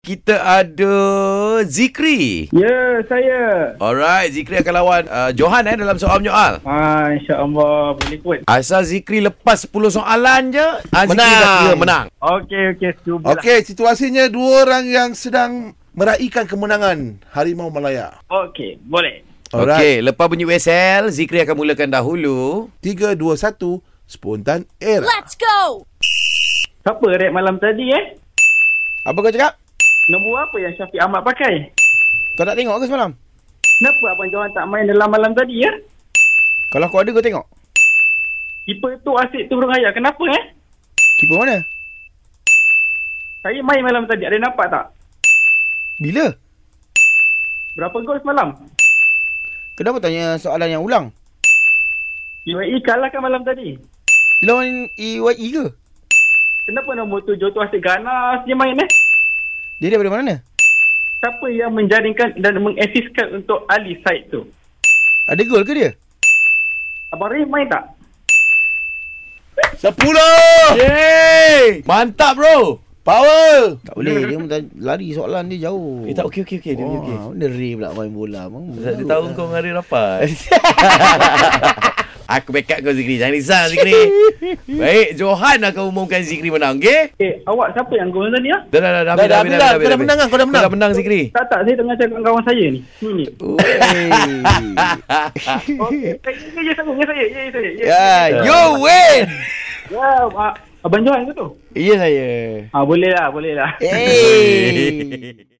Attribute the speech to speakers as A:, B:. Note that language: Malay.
A: kita ada Zikri.
B: Ya, saya.
A: Alright, Zikri akan lawan uh, Johan eh dalam soal menyoal.
B: Ah, insya-Allah boleh kot.
A: Asal Zikri lepas 10 soalan je, ah, Zikri
C: Menang.
A: dah kira menang.
B: Okey, okey, cuba. lah.
C: Okey, situasinya dua orang yang sedang meraihkan kemenangan Harimau Malaya.
B: Okey, boleh.
A: Okey, lepas bunyi whistle, Zikri akan mulakan dahulu.
C: Tiga, dua, satu. Spontan era.
D: Let's go!
B: Siapa rap malam tadi eh?
E: Apa kau cakap?
B: Nombor apa yang Syafiq Ahmad pakai?
E: Kau tak tengok ke semalam?
B: Kenapa Abang Johan tak main dalam malam tadi ya?
E: Kalau kau ada kau tengok.
B: Keeper tu asyik tu burung ayah. Kenapa eh?
E: Keeper mana?
B: Saya main malam tadi. Ada nampak tak?
E: Bila?
B: Berapa gol semalam?
E: Kenapa tanya soalan yang ulang?
B: UAE kalah kan malam tadi?
E: Dia lawan EYE E ke?
B: Kenapa nombor tujuh tu asyik ganas je main eh?
E: Dia daripada mana?
B: Siapa yang menjaringkan dan mengasiskan untuk Ali Said tu?
E: Ada gol ke dia?
B: Abang Ray main tak?
C: Sepuluh!
A: Yeay! Mantap bro.
C: Power!
E: Tak boleh. Dia pun tanya- lari soalan dia jauh.
A: Eh
E: Ah,
A: tak okey okey okey, dia
E: Wah,
A: okey.
E: Dia re pula lah, main bola. Bang.
A: Dia dia tahu kau hari rapat. Aku backup kau Zikri. Jangan risau Zikri. Baik, Johan akan umumkan Zikri menang, okey?
B: Eh, awak siapa yang gol tadi ah?
A: Dah dah dah dah
C: Dah, dah, habis dah. Kau dah menang kan? Kau dah menang.
A: Kau dah menang Zikri.
B: Tak tak, saya tengah cakap dengan kawan saya ni. Ni ni. Okey, saya saya je sambung, ya saya, ya saya. Ya, saya.
E: Ya, yo win.
B: ya ah, Abang Johan ke tu?
E: Ya saya.
B: Ah, boleh lah, boleh lah.
E: Hey.